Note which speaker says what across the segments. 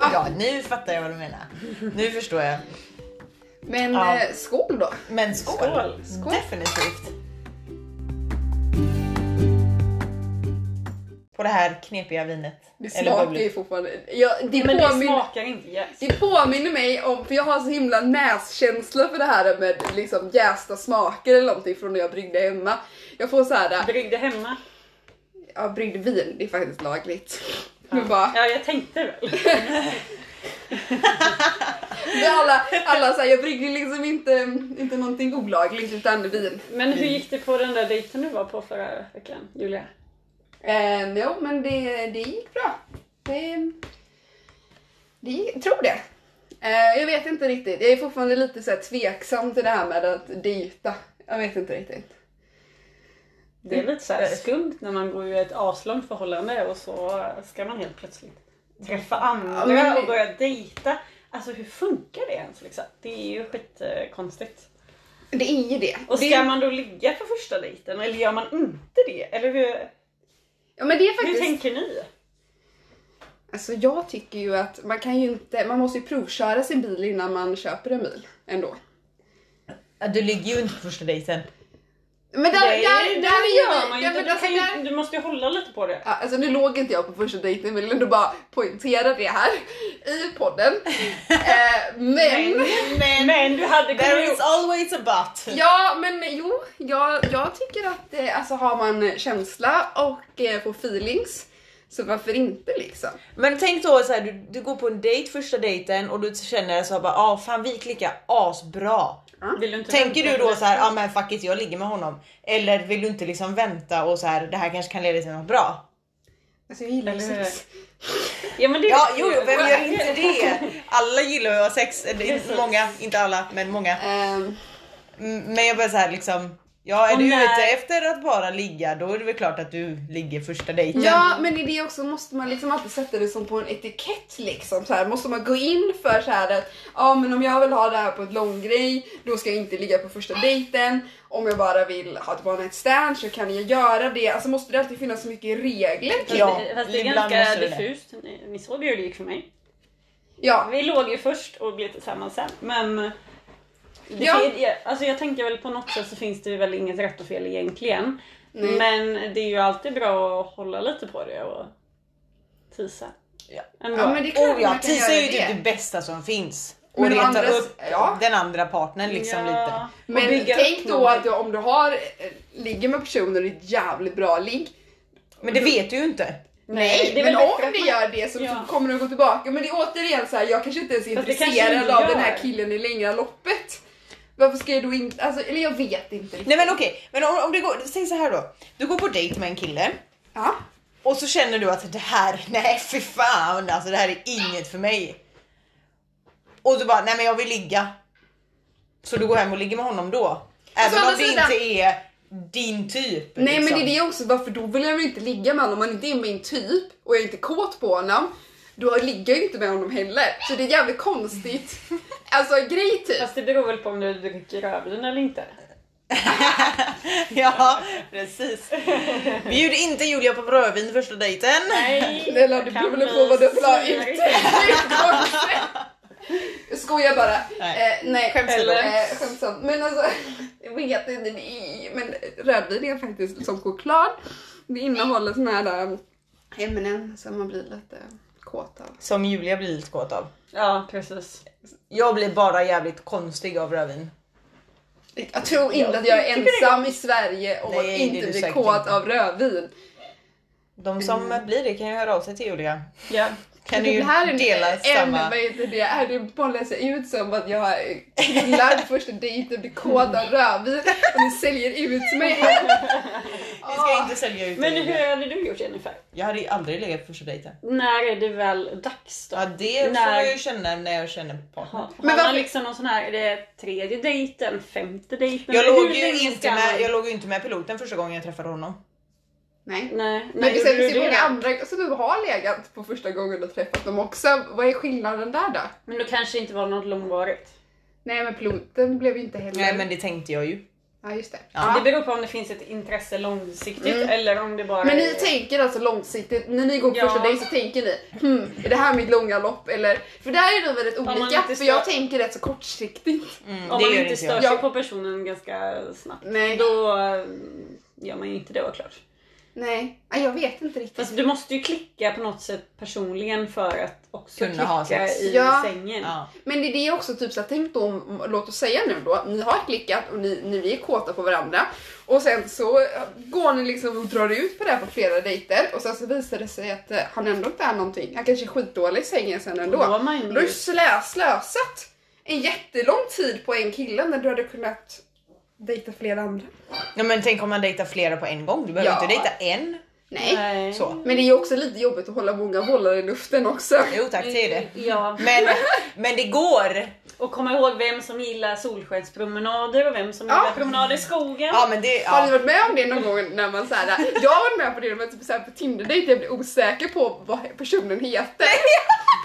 Speaker 1: ja, nu fattar jag vad du menar. Nu förstår jag.
Speaker 2: Men
Speaker 1: Ja.
Speaker 2: eh, skål då!
Speaker 1: Men skål! Mm,
Speaker 3: Skål.
Speaker 2: Skål.
Speaker 1: Definitivt. På det här knepiga vinet.
Speaker 2: Det
Speaker 1: Eller
Speaker 2: smakar
Speaker 1: bubblet.
Speaker 2: ju fortfarande... Jag, det,
Speaker 3: Men det
Speaker 2: påminner,
Speaker 3: smakar inte jäst.
Speaker 2: det påminner mig om, för jag har så himla näskänsla för det här med liksom jästa smaker eller någonting från när jag bryggde hemma. Jag får så här, eh,
Speaker 3: Bryggde hemma.
Speaker 2: jag bryggde vin, det är faktiskt lagligt. Men bara,
Speaker 3: Ja, jag tänkte väl.
Speaker 2: Men alla, alla så här, jag bryggde liksom inte, inte någonting olagligt utan vin.
Speaker 3: Men hur gick det på den där dejten du var på förra veckan, Julia?
Speaker 2: Eh, jo, men det, det gick bra. Det, det gick, tror det. Eh, jag vet inte riktigt. Jag är fortfarande lite så här tveksam till det här med att dejta. Jag vet inte riktigt.
Speaker 3: Det är lite så här
Speaker 2: Mm.
Speaker 3: skumt när man går i ett avslångt förhållande och så ska man helt plötsligt träffa andra
Speaker 2: Ja, men-
Speaker 3: och börja dejta. Alltså hur funkar det ens liksom? Det är ju skitkonstigt.
Speaker 2: Det är ju det.
Speaker 3: Och
Speaker 2: det
Speaker 3: ska man då ligga på första dejten eller gör man inte det? Eller hur,
Speaker 2: ja, men det är
Speaker 3: hur
Speaker 2: faktiskt...
Speaker 3: tänker ni?
Speaker 2: Alltså jag tycker ju att man kan ju inte... Man måste ju provköra sin bil innan man köper en bil ändå.
Speaker 1: Ja, Du ligger ju inte på första dejten.
Speaker 2: Men där,
Speaker 3: Nej,
Speaker 2: där, där
Speaker 3: det
Speaker 2: är ju...
Speaker 3: gör man ju
Speaker 2: ja, men
Speaker 3: inte. Du,
Speaker 2: alltså
Speaker 3: kan
Speaker 2: där-
Speaker 3: ju, du måste ju hålla lite på det.
Speaker 2: Ja, alltså nu låg inte jag på första dejten men jag vill ändå bara poängtera det här i podden. Eh, men,
Speaker 1: Men,
Speaker 3: Men du hade kunnat
Speaker 1: there
Speaker 3: gjort
Speaker 1: is always a but.
Speaker 2: ja men jo, jag, jag tycker att eh, alltså, har man känsla och eh, får feelings så varför inte liksom?
Speaker 1: Men tänk då så här, du, du går på en dejt första dejten och du känner så här bara ah, fan vi klickar asbra.
Speaker 3: Vill du inte
Speaker 1: Tänker du
Speaker 3: vänta
Speaker 1: då
Speaker 3: på
Speaker 1: så här, ja ah, men fuck it, jag ligger med honom. Eller vill du inte liksom vänta och så här, det här kanske kan leda till något bra?
Speaker 2: Alltså jag gillar ju
Speaker 3: Eller hur?
Speaker 2: sex.
Speaker 3: det? Ja men det
Speaker 1: Ja, jo, vem gör inte det? Alla gillar ju att ha sex, eller inte många, inte alla, men många.
Speaker 2: Ehm,
Speaker 1: Mm, Men jag bara så här liksom, ja är
Speaker 3: Och
Speaker 1: du
Speaker 3: när-
Speaker 1: ute efter att bara ligga, då är det väl klart att du ligger första dejten.
Speaker 2: ja men i det också måste man liksom alltid sätta det som på en etikett liksom. Så här, måste man gå in för så här att ja men om jag vill ha det här på ett långgrej då ska jag inte ligga på första dejten. Om jag bara vill ha ett one night stand så kan jag göra det. Alltså måste det alltid finnas så mycket regler.
Speaker 3: Fast,
Speaker 1: Ja,
Speaker 3: fast det är
Speaker 1: ibland
Speaker 3: ganska
Speaker 1: måste det det.
Speaker 3: diffust. Ni, ni såg ju hur det gick för mig.
Speaker 2: Ja,
Speaker 3: Vi låg ju först och blev tillsammans sen. Men det
Speaker 2: Ja.
Speaker 3: fin- ja, alltså jag tänker väl på något sätt så finns det väl inget rätt och fel egentligen.
Speaker 2: Nej.
Speaker 3: Men det är ju alltid bra att hålla lite på det och tisa.
Speaker 1: Ja.
Speaker 3: Ändå.
Speaker 2: ja men det är klart
Speaker 1: Oh ja,
Speaker 2: man kan
Speaker 1: tisa är
Speaker 2: göra
Speaker 1: ju typ det
Speaker 2: det.
Speaker 1: bästa som finns. Och
Speaker 2: Men å
Speaker 1: reta
Speaker 2: andra-
Speaker 1: upp
Speaker 2: ja.
Speaker 1: den andra partnern liksom lite.
Speaker 3: Och
Speaker 2: Men
Speaker 3: bygga
Speaker 2: tänk
Speaker 3: upp
Speaker 2: då
Speaker 3: någonting.
Speaker 2: att du, om du har, eh, ligger med personer i ett jävligt bra ligg.
Speaker 1: Men det vet du ju inte.
Speaker 2: Nej,
Speaker 3: det är
Speaker 2: men
Speaker 3: väl
Speaker 2: om
Speaker 3: bättre att
Speaker 2: det
Speaker 3: man-
Speaker 2: gör det så,
Speaker 3: Ja.
Speaker 2: så kommer du gå tillbaka. Men det är återigen så här, jag kanske inte ens är
Speaker 3: Fast det kanske
Speaker 2: intresserad
Speaker 3: inte
Speaker 2: av
Speaker 3: gör.
Speaker 2: den här killen i längre loppet. Varför ska jag då inte, alltså, eller jag vet inte riktigt.
Speaker 1: Nej men okej, men om, om det går, säg så här då. Du går på dejt med en kille
Speaker 2: Ja.
Speaker 1: och så känner du att det här, nej fy fan alltså det här är inget för mig. Och du bara, nej men jag vill ligga. Så du går hem och ligger med honom då. Även
Speaker 2: Alltså, andra
Speaker 1: om det
Speaker 2: sidan-
Speaker 1: inte är din typ.
Speaker 2: Nej men det är det också, varför då vill jag väl inte ligga med honom om han inte är min typ och jag är inte kåt på honom. Då ligger jag ju inte med honom heller. Så det är jävligt konstigt. Alltså grej typ.
Speaker 3: Fast det beror väl på om du dricker rödvin eller inte.
Speaker 1: ja, precis. Bjud inte Julia på rödvin första dejten.
Speaker 3: Nej,
Speaker 2: Eller du
Speaker 3: kan
Speaker 2: beror väl
Speaker 3: bli
Speaker 2: på vad du vill ha ut.
Speaker 3: snurrigt.
Speaker 2: Jag skojar bara.
Speaker 1: Nej.
Speaker 2: Eh, nej.
Speaker 1: Skämt åsido.
Speaker 2: Eh, skämtsamt. Men alltså, jag vet inte. det är- Men rödvin är faktiskt som choklad. Det innehåller såna här um, ämnen som man blir lite kåt av.
Speaker 1: Som Julia blir lite kåt av.
Speaker 3: Ja, precis.
Speaker 1: Jag blir bara jävligt konstig av rödvin.
Speaker 2: Jag tror inte att jag är ensam i Sverige och
Speaker 1: Nej, det är
Speaker 2: inte
Speaker 1: du
Speaker 2: blir
Speaker 1: säkert
Speaker 2: kåt
Speaker 1: inte.
Speaker 2: av rödvin.
Speaker 1: De som blir det kan ju höra av sig till Julia.
Speaker 3: Ja.
Speaker 1: Kan du
Speaker 2: Mm. det
Speaker 1: ju
Speaker 2: här
Speaker 1: dela
Speaker 2: en,
Speaker 1: samma...
Speaker 2: En, vad heter det? Är det bollar sig ut som att jag knullar på första dejten, blir kåt av rödvin och ni säljer ut mig.
Speaker 1: Vi ska inte sälja ut
Speaker 3: Men
Speaker 1: det, Julia.
Speaker 3: hur hade du gjort Jennifer?
Speaker 1: Jag hade ju aldrig legat på första dejten.
Speaker 3: När är det väl dags då?
Speaker 1: Ja, det får
Speaker 3: När-
Speaker 1: jag ju känna när jag känner partner.
Speaker 3: Har,
Speaker 2: Men
Speaker 3: har
Speaker 2: varför-
Speaker 3: man liksom någon sån här, är det tredje dejten, femte dejten?
Speaker 1: Jag
Speaker 3: Eller hur
Speaker 1: låg, ju
Speaker 3: länge
Speaker 1: inte
Speaker 3: ska
Speaker 1: med,
Speaker 3: man- Mm.
Speaker 1: jag låg ju inte med piloten första gången jag träffade honom.
Speaker 2: Nej.
Speaker 3: Nej,
Speaker 2: Men
Speaker 3: när
Speaker 2: det
Speaker 3: gjorde
Speaker 2: finns
Speaker 3: du
Speaker 2: ju
Speaker 3: det
Speaker 2: många
Speaker 3: då?
Speaker 2: andra som du har legat på första gången och träffat dem också. Vad är skillnaden där då?
Speaker 3: Men då kanske inte var något långvarigt.
Speaker 2: Nej men piloten blev ju inte heller...
Speaker 1: Nej men det tänkte jag ju.
Speaker 2: Ja, just det.
Speaker 1: Ja.
Speaker 3: Det beror på om det finns ett intresse långsiktigt
Speaker 2: Mm.
Speaker 3: eller om det bara
Speaker 2: Men
Speaker 3: är-
Speaker 2: ni tänker alltså långsiktigt, när ni går på
Speaker 3: Ja.
Speaker 2: första dejt så tänker ni hmm, är det här mitt långa lopp eller? För där är ni väldigt
Speaker 3: man
Speaker 2: olika,
Speaker 3: inte
Speaker 2: för jag
Speaker 3: stör-
Speaker 2: tänker rätt så kortsiktigt.
Speaker 1: Mm,
Speaker 3: Om
Speaker 1: det
Speaker 3: man
Speaker 1: gör
Speaker 3: inte
Speaker 1: inte
Speaker 3: stör
Speaker 1: jag.
Speaker 3: sig på personen ganska snabbt,
Speaker 2: Nej.
Speaker 3: då eh, gör man ju inte det var klart.
Speaker 2: Nej, Nej, jag vet inte riktigt.
Speaker 3: Fast du måste ju klicka på något sätt personligen för att också
Speaker 1: Kunna ha
Speaker 3: klicka
Speaker 1: sex.
Speaker 3: i
Speaker 2: Ja.
Speaker 3: sängen.
Speaker 1: Ja.
Speaker 2: Men det är det jag också typ så här, tänk då, om- låt oss säga nu då, ni har klickat och ni, ni vi är kåta på varandra och sen så eh, går ni liksom och drar ut på det här på flera dejter och sen så visar det sig att eh, han ändå inte är någonting. Han kanske är skitdålig i sängen sen ändå.
Speaker 3: Då har man
Speaker 2: Då
Speaker 3: ju
Speaker 2: har du slö, slösat en jättelång tid på en kille när du hade kunnat dejta flera andra.
Speaker 1: Nej, men tänk om man dejtar flera på en gång. Du behöver
Speaker 2: Ja.
Speaker 1: inte dejta en.
Speaker 2: Nej.
Speaker 3: Nej.
Speaker 1: Så.
Speaker 2: Men det är ju också lite jobbigt att hålla många bollar i luften också.
Speaker 1: Jo tack, säg det.
Speaker 3: Ja,
Speaker 1: Men, men det går.
Speaker 3: och kom ihåg vem som gillar solskenspromenader och vem som
Speaker 2: Ja.
Speaker 3: gillar promenader i skogen.
Speaker 1: Ja men det,
Speaker 2: Har ni
Speaker 1: ja.
Speaker 2: varit med om det någon gång när man såhär, jag har varit med på det när man typ såhär på Tinder-dejt jag blir osäker på vad personen heter.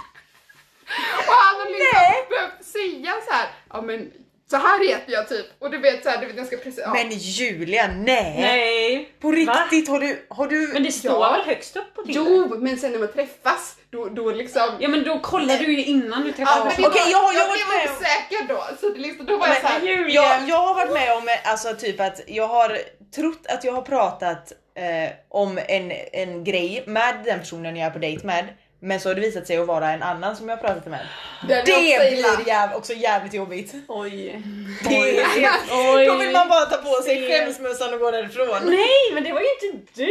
Speaker 2: Och han har liksom behövt säga såhär, ja men så här heter jag typ. Och du vet såhär, du vet jag ska precis, ja.
Speaker 1: Men Julia, nej.
Speaker 3: Nej.
Speaker 1: På
Speaker 3: Va?
Speaker 1: riktigt, har du, har du...
Speaker 3: Men det står
Speaker 2: Ja.
Speaker 3: väl högst upp på Tinder?
Speaker 2: Jo, men sen när man träffas, då, då liksom
Speaker 3: Ja men då kollar du ju innan du
Speaker 2: Ja,
Speaker 3: träffar
Speaker 2: men
Speaker 1: Okej,
Speaker 2: det var-
Speaker 1: jag har- jag har
Speaker 2: blev
Speaker 1: varit med om-
Speaker 2: osäker då, så det liksom, då var jag
Speaker 1: Men-
Speaker 2: såhär,
Speaker 3: Julia.
Speaker 1: Jag, jag har varit med om eh, alltså, typ att jag har trott att jag har pratat eh, om en, en grej med den personen jag är på dejt med. Men så har det visat sig att vara en annan som jag har pratat med.
Speaker 2: det hade
Speaker 1: Det
Speaker 2: jag också gillat.
Speaker 1: blir jäv, också jävligt jobbigt.
Speaker 3: Oj.
Speaker 1: Det,
Speaker 3: Oj.
Speaker 1: då vill man bara ta på sig
Speaker 3: Se.
Speaker 1: skämsmössan och gå därifrån.
Speaker 3: Nej men det var ju inte du!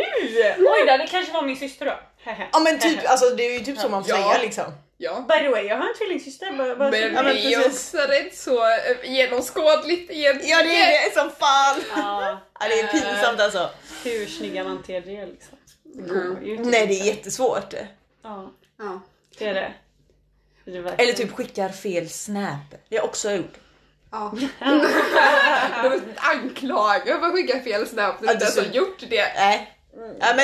Speaker 3: Oj då, det kanske var min syster då. Hehe.
Speaker 1: Ja men typ, alltså, det är ju typ så man får
Speaker 2: Ja.
Speaker 1: säga liksom.
Speaker 2: Ja.
Speaker 3: By the way, jag har en tvillingsyster. Vad- vad-
Speaker 2: Men
Speaker 1: Ja, men
Speaker 2: det är
Speaker 1: precis.
Speaker 2: också rätt så eh, genomskådligt egentligen.
Speaker 1: Ja det är det som fan!
Speaker 3: Ja,
Speaker 1: Ja, det är pinsamt alltså.
Speaker 3: hur snygga man ter det liksom. Det
Speaker 2: Mm.
Speaker 3: går ju inte.
Speaker 1: Nej det är jättesvårt.
Speaker 3: Ja,
Speaker 2: Ja.
Speaker 3: det är det. det är verkligen-
Speaker 1: Eller typ skickar fel snap. Det har jag också gjort.
Speaker 2: Ja. De anklagar för att skicka fel snabbt när du
Speaker 1: Ja,
Speaker 2: inte
Speaker 1: det
Speaker 2: ens har
Speaker 1: så-
Speaker 2: gjort det.
Speaker 1: Nej. Ja, men
Speaker 3: Den
Speaker 1: där,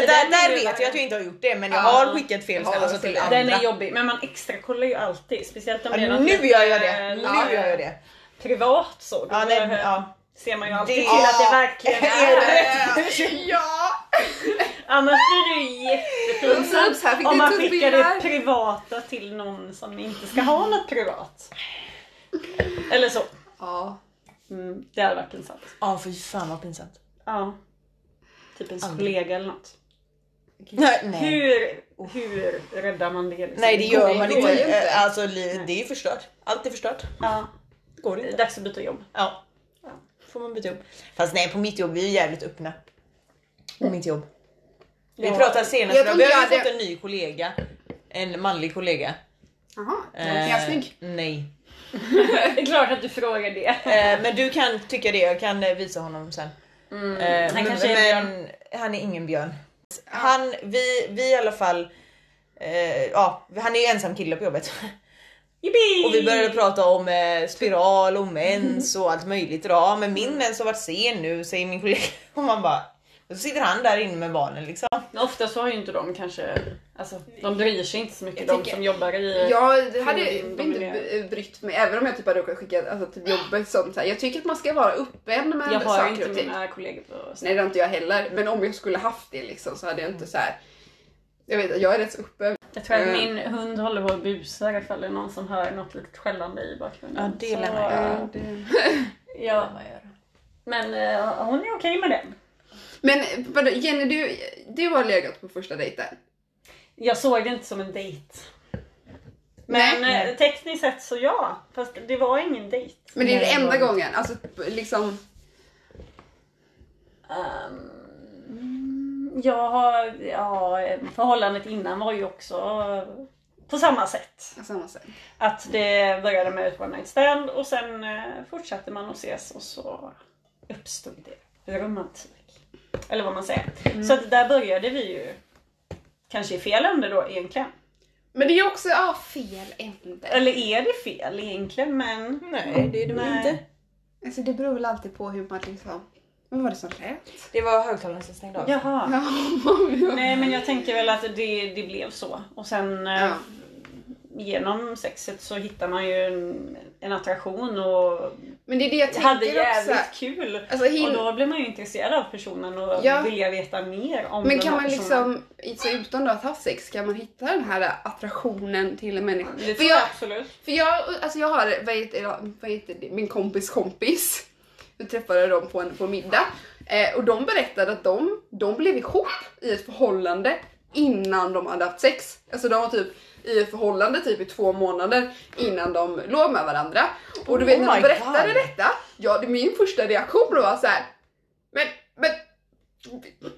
Speaker 1: där
Speaker 3: är ju-
Speaker 1: vet jag att jag inte har gjort det men jag
Speaker 2: Ja.
Speaker 1: har skickat fel
Speaker 2: Ja,
Speaker 1: snäll alltså till
Speaker 2: den
Speaker 1: andra.
Speaker 3: Den är jobbig, men man extrakollar ju alltid. Speciellt om det är
Speaker 1: ja,
Speaker 3: något
Speaker 1: nu
Speaker 3: lite,
Speaker 1: gör jag det,
Speaker 3: eh,
Speaker 1: nu
Speaker 2: ja.
Speaker 1: gör jag det.
Speaker 3: Privat så. Då
Speaker 1: Ja, den,
Speaker 3: eh,
Speaker 1: ja.
Speaker 3: ser man ju alltid
Speaker 1: Det-
Speaker 3: till att det verkligen
Speaker 1: Är
Speaker 3: är.
Speaker 1: det-
Speaker 2: Eh, Ja!
Speaker 3: Annars blir det ju jättepinsamt
Speaker 2: Så här fick
Speaker 3: om
Speaker 2: ni
Speaker 3: man
Speaker 2: tuppinnar.
Speaker 3: skickar det privata till någon som inte ska ha något privat. Eller så.
Speaker 2: Ja.
Speaker 3: Mm, det hade varit pinsamt.
Speaker 1: Ja fy fan vad pinsamt.
Speaker 3: Ja. Typ ens
Speaker 1: Aldrig.
Speaker 3: kollega eller något.
Speaker 1: Nej, nej.
Speaker 3: Hur, hur räddar man det? Liksom?
Speaker 1: nej det gör man
Speaker 2: går
Speaker 1: inte.
Speaker 2: ju inte.
Speaker 1: Eh, Alltså li- det är ju förstört. Allt är förstört.
Speaker 3: Ja,
Speaker 1: Går
Speaker 3: det
Speaker 1: det
Speaker 3: är
Speaker 1: inte.
Speaker 3: dags att byta jobb.
Speaker 1: Ja. Får man byta jobb. Fast nej på mitt jobb, vi är jävligt öppna. På mitt jobb. Vi
Speaker 3: Ja.
Speaker 1: pratade senast
Speaker 2: Jag
Speaker 1: idag,
Speaker 2: tror
Speaker 1: vi
Speaker 2: jag
Speaker 1: har ju
Speaker 2: hade-
Speaker 1: fått en ny kollega. En manlig kollega.
Speaker 2: Jaha,
Speaker 1: Eh,
Speaker 2: är jag snygg?
Speaker 1: nej.
Speaker 3: Det är klart att du frågar det.
Speaker 1: Eh, men du kan tycka det, jag kan eh, visa honom sen. Eh,
Speaker 3: Mm. Han
Speaker 1: men,
Speaker 3: kanske är
Speaker 1: men han är ingen björn. Han, vi, vi i alla fall, eh, ja, han är ju ensam kille på jobbet.
Speaker 3: Yippee!
Speaker 1: Och vi började prata om eh, spiral och mens och allt möjligt idag. Ja, men
Speaker 3: Mm.
Speaker 1: min mens har varit sen nu säger min kollega. Och man bara, och så sitter han där inne med barnen liksom.
Speaker 3: Men Ofta så har ju inte de kanske, alltså de bryr sig inte så mycket
Speaker 1: Jag
Speaker 3: de
Speaker 1: tycker-
Speaker 3: som jobbar i...
Speaker 2: Jag hade
Speaker 3: Kvinnlig
Speaker 2: inte
Speaker 3: dominerad.
Speaker 2: b- brytt mig även om jag typ hade råkat skicka alltså, till jobbet sånt så här. Jag tycker att man ska vara öppen med
Speaker 3: jag har
Speaker 2: saker
Speaker 3: inte
Speaker 2: och ting.
Speaker 3: mina kollegor på
Speaker 2: Nej det har inte jag heller. Men om jag skulle haft det liksom så hade jag inte så här. Jag vet att jag är rätt så öppen.
Speaker 3: Jag tror att
Speaker 2: Mm.
Speaker 3: min hund håller på att busa ifall det är någon som hör något litet skällande i bakgrunden.
Speaker 1: Ja, det
Speaker 3: Så,
Speaker 1: lär man göra.
Speaker 3: eh, Ja, men eh, hon är okej med det.
Speaker 2: Men vadå, Jenny du, du har legat på första dejten.
Speaker 3: Jag såg det inte som en dejt. Men eh, tekniskt sett så ja, fast det var ingen dejt.
Speaker 2: Men det är
Speaker 1: Nej,
Speaker 2: den enda
Speaker 1: det var-
Speaker 2: gången. Alltså liksom.
Speaker 3: Ehm, jag har, ja, förhållandet innan var ju också på samma sätt.
Speaker 2: på Samma sätt.
Speaker 3: Att det började med ett one night stand och sen eh, fortsatte man att ses och så uppstod det romantik. Eller vad man säger. Så att där började vi ju kanske i fel ände då egentligen.
Speaker 2: Men det är också ja, fel ände.
Speaker 3: Eller är det fel egentligen men...
Speaker 1: Nej det är det väl
Speaker 3: Nej.
Speaker 1: inte.
Speaker 2: Alltså det beror väl alltid på hur man liksom... Vad var det som lät?
Speaker 1: Det var högtalaren som stängde av.
Speaker 3: Jaha.
Speaker 2: Ja,
Speaker 3: Nej men jag tänker väl att det, det blev så. Och sen eh,
Speaker 2: Ja.
Speaker 3: genom sexet så hittar man ju en, en attraktion och
Speaker 2: Men det är det jag tänker
Speaker 3: hade jävligt
Speaker 2: också.
Speaker 3: kul.
Speaker 2: Alltså, hin-
Speaker 3: Och då blir man ju intresserad av personen och
Speaker 2: Ja.
Speaker 3: vill jag veta mer om
Speaker 2: men
Speaker 3: den
Speaker 2: kan
Speaker 3: här
Speaker 2: man
Speaker 3: personen.
Speaker 2: liksom, så utan då att ha sex, kan man hitta den här attraktionen till en människa?
Speaker 3: Det
Speaker 2: För
Speaker 3: tror jag
Speaker 2: jag,
Speaker 3: absolut.
Speaker 2: för jag, alltså jag har, vad heter, det- vad heter det, min kompis kompis. Jag träffade dem på en på middag eh, och de berättade att de, de blev ihop i ett förhållande innan de hade haft sex. Alltså de var typ i ett förhållande typ i två månader innan de låg med varandra. Och du vet
Speaker 1: Oh
Speaker 2: när de
Speaker 1: my
Speaker 2: berättade
Speaker 1: God.
Speaker 2: detta, ja det, min första reaktion var så här. men, men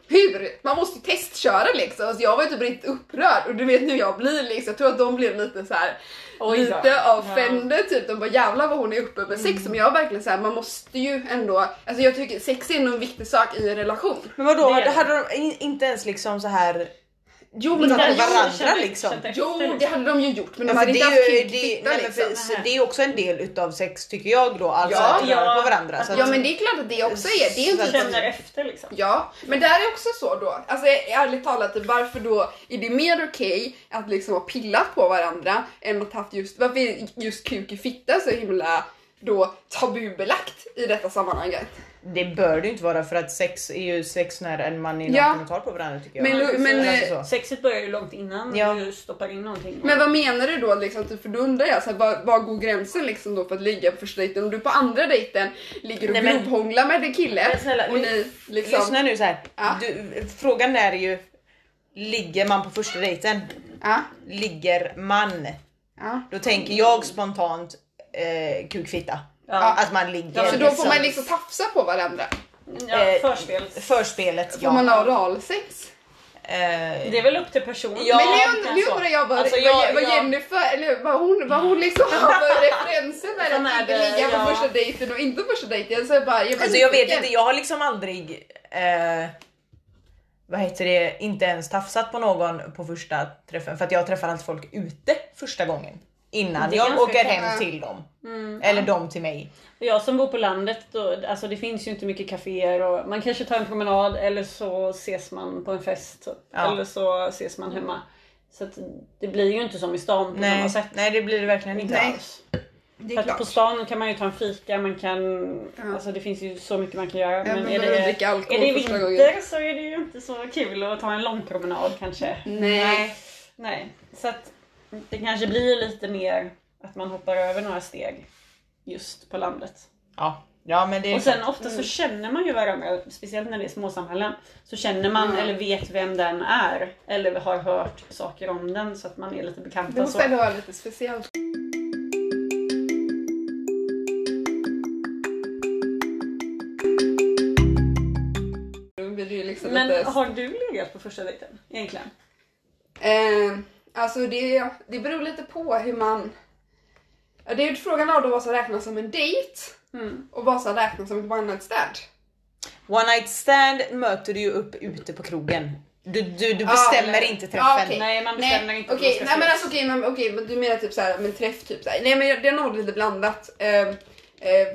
Speaker 2: hur? Man måste ju testköra liksom. Alltså jag var ju typ riktigt upprörd och du vet hur jag blir liksom. Jag tror att de blev lite så här
Speaker 3: Oj då.
Speaker 2: lite av
Speaker 3: Ja.
Speaker 2: fände typ. De bara jävlar vad hon är uppe med sex. Men jag är verkligen såhär, man måste ju ändå, alltså jag tycker sex är ändå en viktig sak i en relation.
Speaker 1: Men vadå,
Speaker 3: Det är det.
Speaker 1: hade de in, inte ens liksom så här
Speaker 2: Jo men
Speaker 1: Men
Speaker 2: de
Speaker 1: där-
Speaker 2: hade,
Speaker 1: jo, varandra,
Speaker 3: Kände-
Speaker 1: liksom.
Speaker 3: kände efter,
Speaker 2: jo det
Speaker 3: liksom.
Speaker 2: hade de ju gjort men de
Speaker 1: Ja, för
Speaker 2: hade
Speaker 1: Alltså, det, är
Speaker 2: inte haft kuk
Speaker 1: ju,
Speaker 2: i
Speaker 1: det,
Speaker 2: fittan
Speaker 1: nej, men för,
Speaker 2: liksom.
Speaker 1: så det är också en del utav sex tycker jag då, alltså
Speaker 2: Ja,
Speaker 1: att röra
Speaker 3: ja.
Speaker 1: på varandra. Så att,
Speaker 2: Ja men det är klart att det också är, det är
Speaker 1: Så
Speaker 2: inte
Speaker 1: att-
Speaker 3: Känner efter liksom.
Speaker 2: Ja, men där är också så då. Alltså ärligt talat, varför då är det mer okej att liksom ha pillat på varandra än att haft just, varför är just kuk i fitta så himla då tabubelagt i detta sammanhanget?
Speaker 1: det bör det ju inte vara för att sex är ju sex när en man är
Speaker 2: Ja.
Speaker 1: naken och tar på varandra tycker jag.
Speaker 2: Men lu- men,
Speaker 1: Alltså
Speaker 2: eh,
Speaker 1: så.
Speaker 3: Sexet börjar ju långt innan
Speaker 1: Ja.
Speaker 3: du stoppar in någonting.
Speaker 2: Men vad menar du då? Liksom, typ, för då undrar jag, så här, var, var går gränsen liksom då för att ligga på första dejten? Om du på andra dejten ligger och
Speaker 1: Nej, men-
Speaker 2: grovhånglar med en kille
Speaker 1: Men snälla,
Speaker 2: och
Speaker 1: ly-
Speaker 2: ni liksom...
Speaker 1: Lyssna nu så här.
Speaker 2: Ja.
Speaker 1: Du, frågan är ju, ligger man på första dejten?
Speaker 2: Ja,
Speaker 1: Ligger man?
Speaker 2: ja.
Speaker 1: Då tänker jag spontant eh, kukfitta.
Speaker 3: Ja.
Speaker 1: Att man ligger.
Speaker 2: Så då får man liksom tafsa på varandra?
Speaker 3: Ja,
Speaker 1: eh,
Speaker 3: förspel.
Speaker 1: Förspelet
Speaker 2: Får
Speaker 1: ja.
Speaker 2: man ha oralsex?
Speaker 1: Eh,
Speaker 3: Det är väl upp till personen.
Speaker 1: Ja,
Speaker 2: Men nu,
Speaker 3: kan
Speaker 2: nu
Speaker 3: så.
Speaker 2: undrar jag vad,
Speaker 1: Alltså,
Speaker 2: vad-
Speaker 1: jag-
Speaker 2: vad
Speaker 1: jag-
Speaker 2: Jennifer, eller vad hon, vad hon liksom har för referenser med
Speaker 3: Sån
Speaker 2: att
Speaker 3: är
Speaker 2: inte
Speaker 3: det,
Speaker 2: ligga
Speaker 3: ja.
Speaker 2: på första dejten och inte första dejten. Så jag bara, jag, blir
Speaker 1: Alltså jag vet
Speaker 2: nyfiken.
Speaker 1: inte, jag har liksom aldrig eh, vad heter det, inte ens tafsat på någon på första träffen för att jag träffar alltid folk ute första gången. Innan
Speaker 3: Det är
Speaker 1: jag
Speaker 3: ganska
Speaker 1: åker
Speaker 3: kul.
Speaker 1: hem till dem. Eller dem till mig.
Speaker 3: Jag som bor på landet, då, alltså det finns ju inte mycket kaféer och man kanske tar en promenad eller så ses man på en fest. typ.
Speaker 1: Ja.
Speaker 3: Eller så ses man hemma. Så att det blir ju inte som i stan på samma
Speaker 1: Nej,
Speaker 3: sätt.
Speaker 1: nej det blir det verkligen inte.
Speaker 3: Inte alls.
Speaker 2: Det
Speaker 3: För
Speaker 2: är
Speaker 3: att på
Speaker 2: klart.
Speaker 3: stan kan man ju ta en fika, man kan...
Speaker 2: Ja.
Speaker 3: Alltså det finns ju så mycket man kan göra. men
Speaker 2: men
Speaker 3: är
Speaker 2: behöver
Speaker 3: det,
Speaker 2: dricka alkohol
Speaker 3: är det
Speaker 2: första
Speaker 3: vinter
Speaker 2: gången.
Speaker 3: så är det ju inte så kul att ta en lång promenad kanske.
Speaker 2: Nej.
Speaker 3: Nej, så att det kanske blir lite mer att man hoppar över några steg just på landet.
Speaker 1: Ja, ja men det är
Speaker 3: Och sen ofta
Speaker 2: Mm.
Speaker 3: så känner man ju varandra, speciellt när det är småsamhällen. Så känner man
Speaker 2: Mm.
Speaker 3: eller vet vem den är. Eller har hört saker om den så att man är lite
Speaker 2: Det
Speaker 3: bekanta. Så.
Speaker 2: måste ändå vara lite speciellt. Då blir det ju liksom
Speaker 3: Men
Speaker 2: lite...
Speaker 3: har du legat på första dejten egentligen?
Speaker 2: Eh, alltså det, det beror lite på hur man... Ja, Det är ju frågan av då vad som räknas som en dejt
Speaker 3: Mm.
Speaker 2: och vad som räknas som ett one night stand.
Speaker 1: One night stand möter du ju upp ute på krogen. Du, du, du
Speaker 2: Ja,
Speaker 1: bestämmer
Speaker 2: eller-
Speaker 1: inte
Speaker 2: Ja,
Speaker 1: träffen.
Speaker 2: okej.
Speaker 3: Nej, man bestämmer inte om
Speaker 2: Okej,
Speaker 3: man ska
Speaker 2: nej, men
Speaker 3: ses.
Speaker 2: alltså, okej, men, okej, men du menar typ såhär, men träff typ såhär. Nej men jag- det är nog lite blandat. Eh, eh,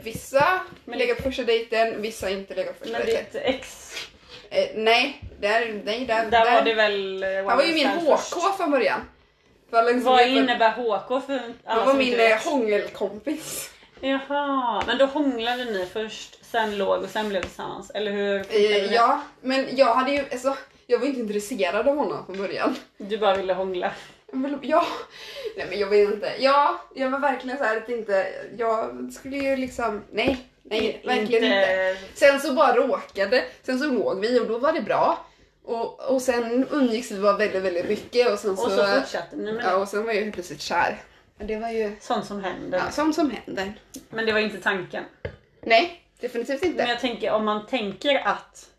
Speaker 2: vissa
Speaker 3: Men-
Speaker 2: lägger på första dejten, vissa inte lägger på första
Speaker 3: Men
Speaker 2: dejten.
Speaker 3: ditt ex,
Speaker 2: Eh, nej, där, nej, där,
Speaker 3: där, var det väl... eh, one
Speaker 2: Han var ju
Speaker 3: night
Speaker 2: min
Speaker 3: stand först.
Speaker 2: HK från början. För liksom,
Speaker 3: Vad
Speaker 2: jag-
Speaker 3: innebär HK för alla
Speaker 2: Han var
Speaker 3: som
Speaker 2: min
Speaker 3: inte vet?
Speaker 2: eh, hångelkompis.
Speaker 3: Jaha, men då hånglade ni först, sen låg och sen blev det tillsammans, eller hur? funkade
Speaker 2: Eh,
Speaker 3: det?
Speaker 2: ja, men jag hade ju, alltså, jag var inte intresserad av honom från början.
Speaker 3: Du bara ville hångla.
Speaker 2: Men Ja, nej men jag vet inte. Ja, jag var verkligen så här att inte, jag skulle ju liksom, nej, nej, verkligen inte. Sen så bara råkade, sen så låg vi och då var det bra. Och, och sen umgicks vi bara väldigt, väldigt mycket och sen så,
Speaker 3: Och så fortsatte ni med
Speaker 2: Alltså, ja,
Speaker 3: det.
Speaker 2: och sen var jag helt plötsligt kär. Men Det var ju
Speaker 3: Sånt som händer.
Speaker 2: ja, sånt som händer.
Speaker 3: Men det var inte tanken.
Speaker 2: Nej, definitivt
Speaker 3: Men
Speaker 2: inte.
Speaker 3: jag tänker om man tänker att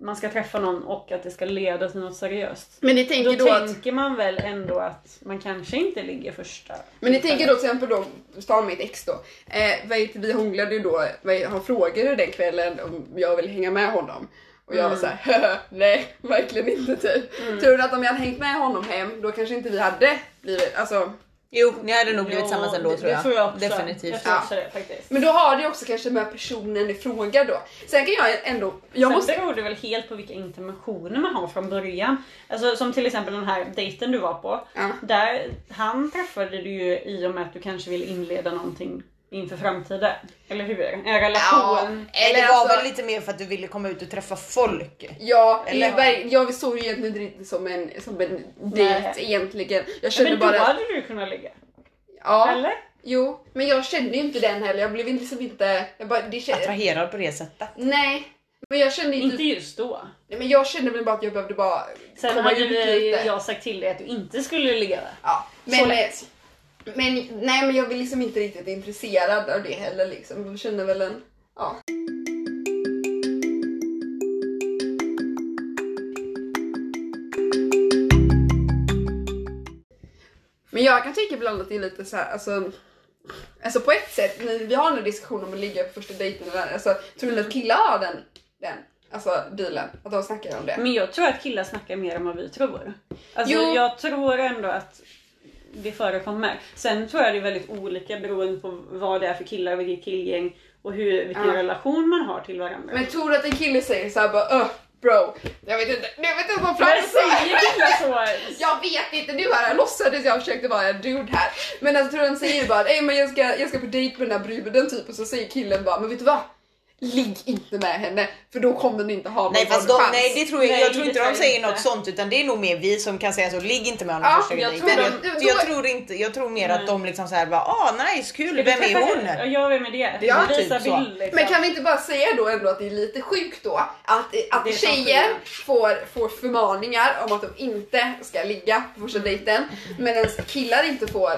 Speaker 3: man ska träffa någon och att det ska leda till något seriöst.
Speaker 2: Men ni
Speaker 3: Då
Speaker 2: tänker då att
Speaker 3: tänker man väl ändå att man kanske inte ligger första.
Speaker 2: Men ni tänker då till exempel då, ta mitt ex då. Eh, vad heter, vi hånglade ju då, vad heter, han frågade den kvällen om jag ville hänga med honom. Och jag var såhär, nej Mm. verkligen inte typ. Tror du att om jag hade hängt med honom hem, då kanske inte vi hade blivit, alltså
Speaker 1: Jo, ni hade nog blivit
Speaker 3: Jo,
Speaker 1: tillsammans ändå
Speaker 3: det-
Speaker 1: tror jag.
Speaker 3: Det tror jag också.
Speaker 1: Definitivt.
Speaker 3: Jag tror också det faktiskt.
Speaker 2: Men då har det också kanske med personen i fråga då. Sen kan jag ändå... Jag
Speaker 3: Sen
Speaker 2: måste...
Speaker 3: beror det väl helt på vilka intentioner man har från början. Alltså som till exempel den här dejten du var på.
Speaker 2: Ja.
Speaker 3: Där, han träffade du ju i och med att du kanske vill inleda någonting inför framtiden. Eller hur? En relation.
Speaker 1: Eller det var
Speaker 2: alltså-
Speaker 1: väl lite mer för att du ville komma ut och träffa folk.
Speaker 2: Ja,
Speaker 1: Eller-
Speaker 2: Eller... jag, jag såg ju egentligen inte som en, som en dejt
Speaker 3: Nej.
Speaker 2: egentligen. Jag
Speaker 3: Ja,
Speaker 2: kände
Speaker 3: men då
Speaker 2: bara...
Speaker 3: hade du kunnat ligga.
Speaker 2: Ja,
Speaker 3: Eller?
Speaker 2: jo. Men jag kände ju inte den heller. Jag blev liksom inte... Jag bara, det kände,
Speaker 1: Attraherad på det sättet.
Speaker 2: nej. Men jag kände inte...
Speaker 3: Inte just då.
Speaker 2: Nej, men jag kände väl bara att jag behövde bara
Speaker 3: Sen
Speaker 2: komma
Speaker 3: hade
Speaker 2: ut
Speaker 3: vi,
Speaker 2: lite.
Speaker 3: jag sagt till dig att du inte skulle ligga där.
Speaker 2: Ja,
Speaker 3: Så
Speaker 2: men,
Speaker 3: lätt.
Speaker 2: men, nej, men jag var liksom inte riktigt intresserad av det heller. Liksom. Jag kände väl en... Ja. Men jag kan tycka ibland att det är lite så här, alltså, alltså på ett sätt, när vi har en diskussion om att ligga på första dejten, eller, alltså, tror ni att killar har den, den alltså, dealen? Att de snackar om det?
Speaker 3: Men jag tror att killar snackar mer än vad vi tror. Alltså
Speaker 2: Jo.
Speaker 3: jag tror ändå att det förekommer. Sen tror jag det är väldigt olika beroende på vad det är för killar, vilket killgäng och hur, vilken
Speaker 2: Ja.
Speaker 3: relation man har till varandra.
Speaker 2: Men tror du att en kille säger såhär bara öh bro, jag vet inte, jag vet inte vad
Speaker 3: Men
Speaker 2: fan
Speaker 3: säger killar så?
Speaker 2: Jag vet inte, nu här jag låtsades jag försökte vara en dude här. Men alltså tror du han säger bara Ey, men jag ska, jag ska på dejt med den här bruden typ och så säger killen bara men vet du vad? Ligg inte med henne för då kommer ni inte ha någon
Speaker 1: Nej, fast de,
Speaker 2: chans.
Speaker 1: nej, det tror jag,
Speaker 3: Nej,
Speaker 1: jag tror
Speaker 3: det
Speaker 1: inte
Speaker 3: tror
Speaker 1: de
Speaker 3: jag
Speaker 1: säger
Speaker 3: inte.
Speaker 1: något sånt utan det är nog mer vi som kan säga så, ligg inte med honom
Speaker 2: Ja,
Speaker 1: första
Speaker 3: jag
Speaker 1: dejten.
Speaker 3: tror
Speaker 1: Jag,
Speaker 2: de-
Speaker 1: jag,
Speaker 2: då-
Speaker 1: tror inte, jag tror mer
Speaker 3: Nej.
Speaker 1: att de liksom såhär bara ah nice kul,
Speaker 3: Ska du
Speaker 1: vem är
Speaker 3: träffa
Speaker 1: hon?
Speaker 3: henne? Ja, vem är det?
Speaker 1: Ja, typ
Speaker 3: Visa
Speaker 1: så.
Speaker 3: bild liksom.
Speaker 2: Men kan vi inte bara säga då ändå att det är lite sjukt då att, eh,
Speaker 3: Det är
Speaker 2: att
Speaker 3: som
Speaker 2: tjejer får, får förmaningar om att de inte ska ligga på första dejten medan killar inte får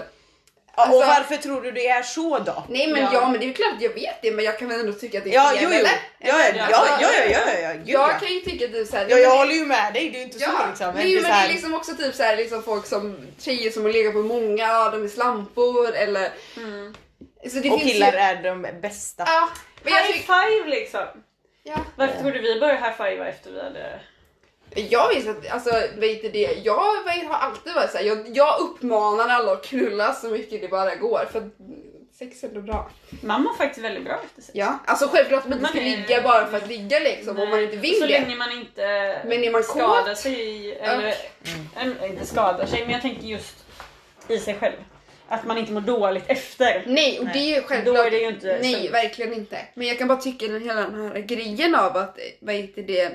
Speaker 1: Ja, och
Speaker 2: Alltså-
Speaker 1: varför tror du det är så då?
Speaker 2: Nej men
Speaker 3: Ja.
Speaker 2: ja. men det är ju klart att jag vet det men jag kan väl ändå tycka att det är
Speaker 1: Ja,
Speaker 2: fel
Speaker 1: jo, jo.
Speaker 2: eller?
Speaker 1: Ja, ja, ja, ja, ja, ja, ja, ja, gud, ja.
Speaker 2: Jag kan ju tycka typ såhär...
Speaker 1: Ja, jag håller ju med dig, det är ju inte
Speaker 2: Ja,
Speaker 1: så liksom. Men
Speaker 2: nej,
Speaker 1: det är
Speaker 2: men det
Speaker 1: såhär,
Speaker 2: är liksom också typ såhär liksom folk som tjejer som har legat på många, ja, de är slampor eller... Så det
Speaker 1: Mm. och
Speaker 2: finns
Speaker 1: killar
Speaker 2: ju...
Speaker 1: är de bästa.
Speaker 2: Ja, men jag
Speaker 3: High
Speaker 2: tycker...
Speaker 3: five liksom.
Speaker 2: Ja.
Speaker 3: Varför trodde vi började high-fiva efter vi hade...
Speaker 2: Jag visste att, alltså vet du det, jag vet- har alltid varit såhär, jag, jag uppmanar alla att knulla så mycket det bara går för att sex är ändå bra.
Speaker 3: Man mår faktiskt väldigt bra efter sig.
Speaker 2: Ja, alltså självklart att man inte ska
Speaker 3: Man är-
Speaker 2: ligga bara för att ligga liksom om man inte vill
Speaker 3: Så
Speaker 2: det.
Speaker 3: länge man inte eh,
Speaker 2: Men är man
Speaker 3: skadar
Speaker 2: kåt?
Speaker 3: sig eller, Mm. eller inte skadar sig men jag tänker just i sig själv. Att man inte mår dåligt efter.
Speaker 2: Nej, och det är ju självklart.
Speaker 3: Då är det ju inte
Speaker 2: nej,
Speaker 3: sunt.
Speaker 2: verkligen inte. Men jag kan bara tycka den hela den här grejen av att, eh, vad heter det,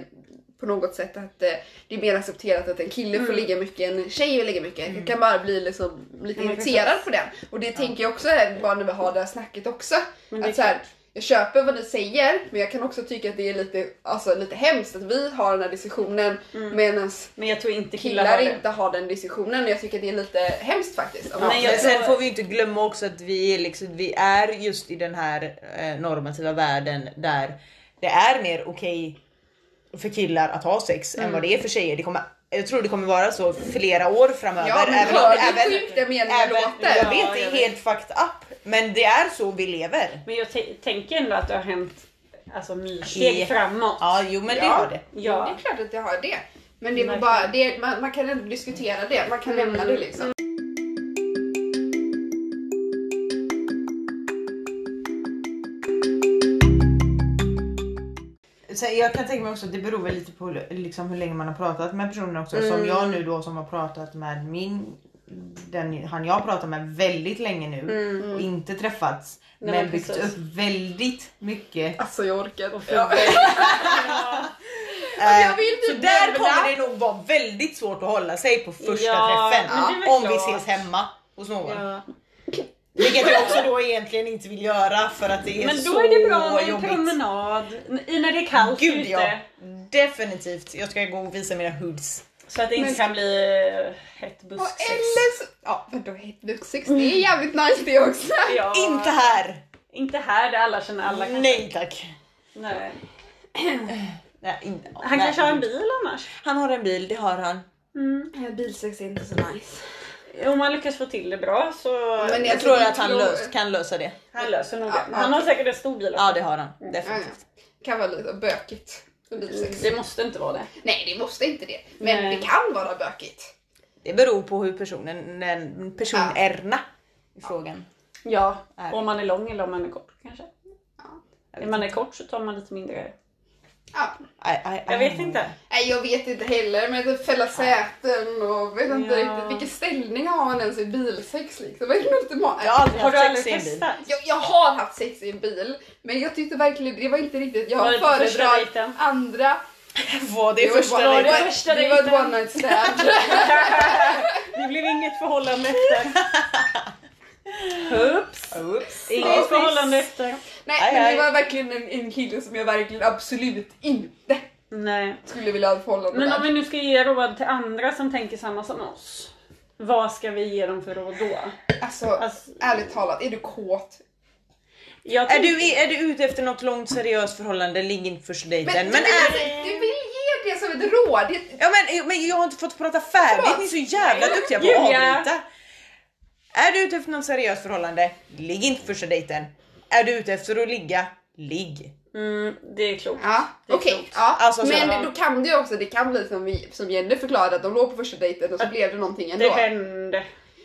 Speaker 2: på något sätt att eh, det är mer accepterat att en kille
Speaker 3: Mm.
Speaker 2: får ligga mycket än en tjej får ligga mycket. Jag kan bara bli liksom, lite
Speaker 3: Ja, men
Speaker 2: irriterad
Speaker 3: precis.
Speaker 2: på den. Och det tänker jag också här, bara när vi har det här snacket också.
Speaker 3: Men det är
Speaker 2: Att så här, jag köper vad ni säger men jag kan också tycka att det är lite, alltså, lite hemskt att vi har den här diskussionen medan
Speaker 3: Men jag tror inte Mm. killar,
Speaker 2: killar
Speaker 3: har det.
Speaker 2: inte har den diskussionen. Och jag tycker att det är lite hemskt faktiskt.
Speaker 3: Nej,
Speaker 1: Men
Speaker 3: jag
Speaker 1: sen
Speaker 3: tror-
Speaker 1: får vi ju inte glömma också att vi, är liksom, vi är just i den här eh, normativa världen där det är mer okej för killar att ha sex
Speaker 3: Mm.
Speaker 1: än vad det är för tjejer. Det kommer, jag tror det kommer vara så flera år framöver.
Speaker 2: Ja men
Speaker 1: även om-
Speaker 2: hör du hur
Speaker 1: även-
Speaker 2: sjukt den meningen
Speaker 1: även,
Speaker 2: låter?
Speaker 1: jag
Speaker 3: Ja,
Speaker 1: vet, det
Speaker 3: jag
Speaker 1: är
Speaker 3: vet.
Speaker 1: helt fucked up. Men det är så vi lever.
Speaker 3: Men jag t- tänker ändå att det har hänt alltså, myrsteg
Speaker 1: I-
Speaker 3: framåt.
Speaker 1: Ja, jo men det
Speaker 2: Ja.
Speaker 1: har det.
Speaker 2: Ja. Det
Speaker 3: Ja.
Speaker 2: är klart att jag har det. Men det är väl
Speaker 3: Verkligen.
Speaker 2: bara, det är, man, man kan ändå diskutera det, man kan lämna det liksom.
Speaker 1: Så jag kan tänka mig också att det beror väl lite på liksom hur länge man har pratat med personen också. Som jag nu då som har pratat med min, den, han jag pratar med väldigt länge nu och inte träffats.
Speaker 3: Nej,
Speaker 1: Mm. men
Speaker 3: men
Speaker 1: byggt
Speaker 3: precis.
Speaker 1: upp väldigt mycket.
Speaker 2: Alltså jag orkar inte.
Speaker 3: Ja.
Speaker 2: Alltså, jag vill
Speaker 1: Eh, så
Speaker 2: typ
Speaker 1: där
Speaker 2: nämna-
Speaker 1: kommer det nog vara väldigt svårt att hålla sig på första
Speaker 3: Ja,
Speaker 1: träffen.
Speaker 3: men det är väl
Speaker 1: om vi
Speaker 3: klart.
Speaker 1: ses hemma hos någon.
Speaker 3: Ja.
Speaker 1: Vilket jag också då egentligen inte vill göra för att det är
Speaker 3: Men
Speaker 1: så
Speaker 3: då är det bra med en
Speaker 1: jobbigt.
Speaker 3: promenad i- när det är kallt
Speaker 1: Gud
Speaker 3: ute.
Speaker 1: ja, definitivt. Jag ska gå och visa mina hoods.
Speaker 3: Så att det inte
Speaker 2: Men-
Speaker 3: kan bli eh, hett
Speaker 2: Och
Speaker 3: busksex.
Speaker 2: eller så, ja vadå hetbuxsex, det är jävligt nice det också.
Speaker 3: Ja.
Speaker 1: Inte här!
Speaker 3: Inte här där alla känner alla. kanske.
Speaker 1: Nej tack.
Speaker 3: Nej.
Speaker 1: Nej, inte-
Speaker 3: Han
Speaker 1: nej.
Speaker 3: kanske har en bil annars. Mm.
Speaker 1: Han har en bil, det har han.
Speaker 2: Bilsex är inte så nice.
Speaker 3: Om man lyckas få till det bra så...
Speaker 2: Men
Speaker 1: Jag
Speaker 2: Alltså,
Speaker 1: tror
Speaker 2: vi
Speaker 1: att han
Speaker 2: tror-
Speaker 1: lös, kan lösa det.
Speaker 3: Han löser nog
Speaker 2: Ja,
Speaker 3: det. Han har säkert en stor bil också.
Speaker 1: Ja det har han.
Speaker 2: Ja,
Speaker 1: Definitivt.
Speaker 2: ja. Kan vara lite bökigt med bilsex.
Speaker 3: Mm. Det måste inte vara det.
Speaker 2: Nej det måste inte det, men
Speaker 3: Nej.
Speaker 2: det kan vara bökigt.
Speaker 1: Det beror på hur personen, den- personerna i frågan
Speaker 3: Ja,
Speaker 1: är.
Speaker 3: om man är lång eller om man är kort kanske.
Speaker 1: Jag
Speaker 3: Om
Speaker 1: vet
Speaker 3: man är
Speaker 1: inte.
Speaker 3: kort så tar man lite mindre. Mm.
Speaker 2: Ja.
Speaker 1: I- I- I-
Speaker 3: Jag vet inte.
Speaker 2: Nej, jag vet inte heller, men att fälla säten och vet inte
Speaker 3: Ja.
Speaker 2: riktigt. Vilken ställning har man ens i bilsex liksom? Vad är den ultimata?
Speaker 1: Jag har aldrig
Speaker 3: Har du
Speaker 1: haft
Speaker 3: aldrig
Speaker 1: sex i en bil.
Speaker 3: testat?
Speaker 2: Jag, jag har haft sex i en bil, men jag tyckte verkligen det var inte riktigt.
Speaker 3: Var
Speaker 2: Jag
Speaker 3: det på första
Speaker 2: föredrar
Speaker 3: dejten?
Speaker 2: andra.
Speaker 1: Var det
Speaker 2: Jo,
Speaker 1: första
Speaker 2: det var-
Speaker 3: dejten?
Speaker 2: det var-
Speaker 3: Första
Speaker 2: Det var ett
Speaker 3: dejten.
Speaker 2: one night stand.
Speaker 3: Det blev inget förhållande efter. Oops.
Speaker 1: Oops.
Speaker 3: Inget förhållande efter.
Speaker 2: Nej,
Speaker 1: Aj,
Speaker 2: men
Speaker 1: aj.
Speaker 2: det var verkligen en, en kille som jag verkligen absolut inte
Speaker 3: Nej.
Speaker 2: skulle vilja ha ett förhållande
Speaker 3: Men om
Speaker 2: med.
Speaker 3: vi nu ska ge råd till andra som tänker samma som oss. Vad ska vi ge dem för råd då?
Speaker 2: Alltså,
Speaker 3: Alltså,
Speaker 2: ärligt talat, är du kåt?
Speaker 3: jag
Speaker 1: Är
Speaker 3: tänker-
Speaker 1: du, är du ute efter något långt seriöst förhållande, ligg inte första dejten. Men,
Speaker 2: du,
Speaker 1: är,
Speaker 2: vill, du vill ge det som ett råd. Det,
Speaker 1: ja, men, men jag har inte fått prata färdigt, ni är så jävla duktiga på att
Speaker 3: Julia.
Speaker 1: avbryta. Är du ute efter något seriöst förhållande, ligg inte första dejten. Är du ute efter att ligga, ligg.
Speaker 3: Mm, det är klokt.
Speaker 2: Ja,
Speaker 3: Det är
Speaker 2: okej.
Speaker 3: klokt.
Speaker 2: Ja.
Speaker 1: Alltså, så-
Speaker 2: men då kan det ju också, det kan bli som, vi, som Jenny förklarade, att de låg på första dejten och så blev det någonting ändå.
Speaker 3: Det hände.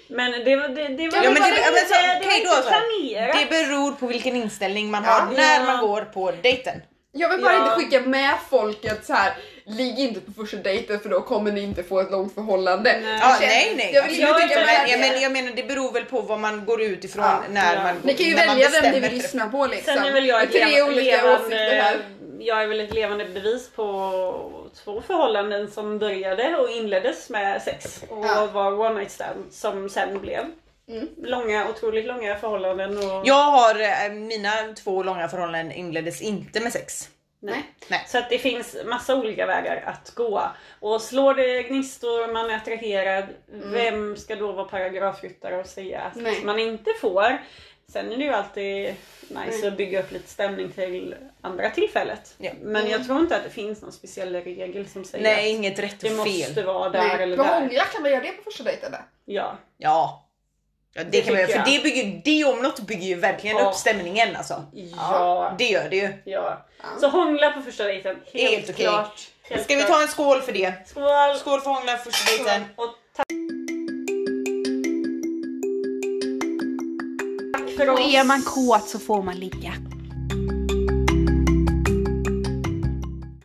Speaker 3: Men det var... Det, det var
Speaker 2: Ja,
Speaker 1: Ja, men
Speaker 3: bara
Speaker 1: det, ja, men så,
Speaker 3: det- det var
Speaker 1: okej då,
Speaker 3: inte
Speaker 1: så,
Speaker 3: planerat.
Speaker 1: det beror på vilken inställning man
Speaker 2: Ja.
Speaker 1: har när
Speaker 3: Ja.
Speaker 1: man går på dejten.
Speaker 2: Jag vill bara
Speaker 3: Ja.
Speaker 2: inte skicka med folk att så här, ligg inte på första dejten för då kommer ni inte få ett långt förhållande.
Speaker 3: Nej.
Speaker 1: Ja,
Speaker 2: Jag känner-
Speaker 1: nej nej.
Speaker 2: Alltså, Jag vill
Speaker 3: Jag
Speaker 2: inte skicka
Speaker 3: är inte
Speaker 2: med
Speaker 1: men,
Speaker 2: det.
Speaker 1: jag, men, jag menar det beror väl på vad man går ut ifrån
Speaker 2: Ja.
Speaker 1: när
Speaker 3: Ja.
Speaker 1: man går
Speaker 2: Ni kan ju
Speaker 1: när man
Speaker 2: välja vem ni
Speaker 1: bestämmer
Speaker 2: vill
Speaker 1: för-
Speaker 2: lyssna på liksom.
Speaker 3: Sen är väl jag
Speaker 2: Det
Speaker 3: ett
Speaker 2: är tre
Speaker 3: leva-
Speaker 2: olika åsikter
Speaker 3: levande...
Speaker 2: här.
Speaker 3: Jag är väl ett levande bevis på två förhållanden som började och inleddes med sex och
Speaker 2: Ja.
Speaker 3: var one night stand som sen blev
Speaker 2: Mm.
Speaker 3: långa, otroligt långa förhållanden och
Speaker 1: Jag har, eh, mina två långa förhållanden inleddes inte med sex.
Speaker 3: Nej.
Speaker 1: Nej.
Speaker 3: Så att det finns massa olika vägar att gå. Och slår det gnistor, man är attraherad,
Speaker 1: Mm.
Speaker 3: vem ska då vara paragrafryttare och säga att
Speaker 2: Nej.
Speaker 3: man inte får? Sen är det ju alltid nice att bygga upp lite stämning till andra tillfället.
Speaker 1: Ja. Mm.
Speaker 3: Men jag tror inte att det finns någon speciell regel som säger
Speaker 1: Nej,
Speaker 3: att
Speaker 1: inget rätt och
Speaker 3: det
Speaker 1: fel.
Speaker 3: måste vara där
Speaker 2: Nej,
Speaker 3: eller
Speaker 2: men
Speaker 3: där.
Speaker 2: många kan väl göra det på första dejten? där?
Speaker 3: Ja.
Speaker 1: Ja. ja det,
Speaker 3: Det
Speaker 1: kan man göra,
Speaker 3: tycker
Speaker 1: för
Speaker 3: jag.
Speaker 1: det, bygger, det om något bygger ju verkligen
Speaker 3: Ja.
Speaker 1: upp stämningen alltså.
Speaker 3: Ja.
Speaker 1: Det gör det ju.
Speaker 3: ja. Så hångla på första dejten. Helt,
Speaker 1: Helt okej.
Speaker 3: klart. Helt
Speaker 1: Ska vi
Speaker 3: klart.
Speaker 1: ta en skål för det?
Speaker 3: Skål!
Speaker 1: Skål för hångla första dejten.
Speaker 3: Och tack. tack för oss.
Speaker 4: Och är man kåt så får man ligga.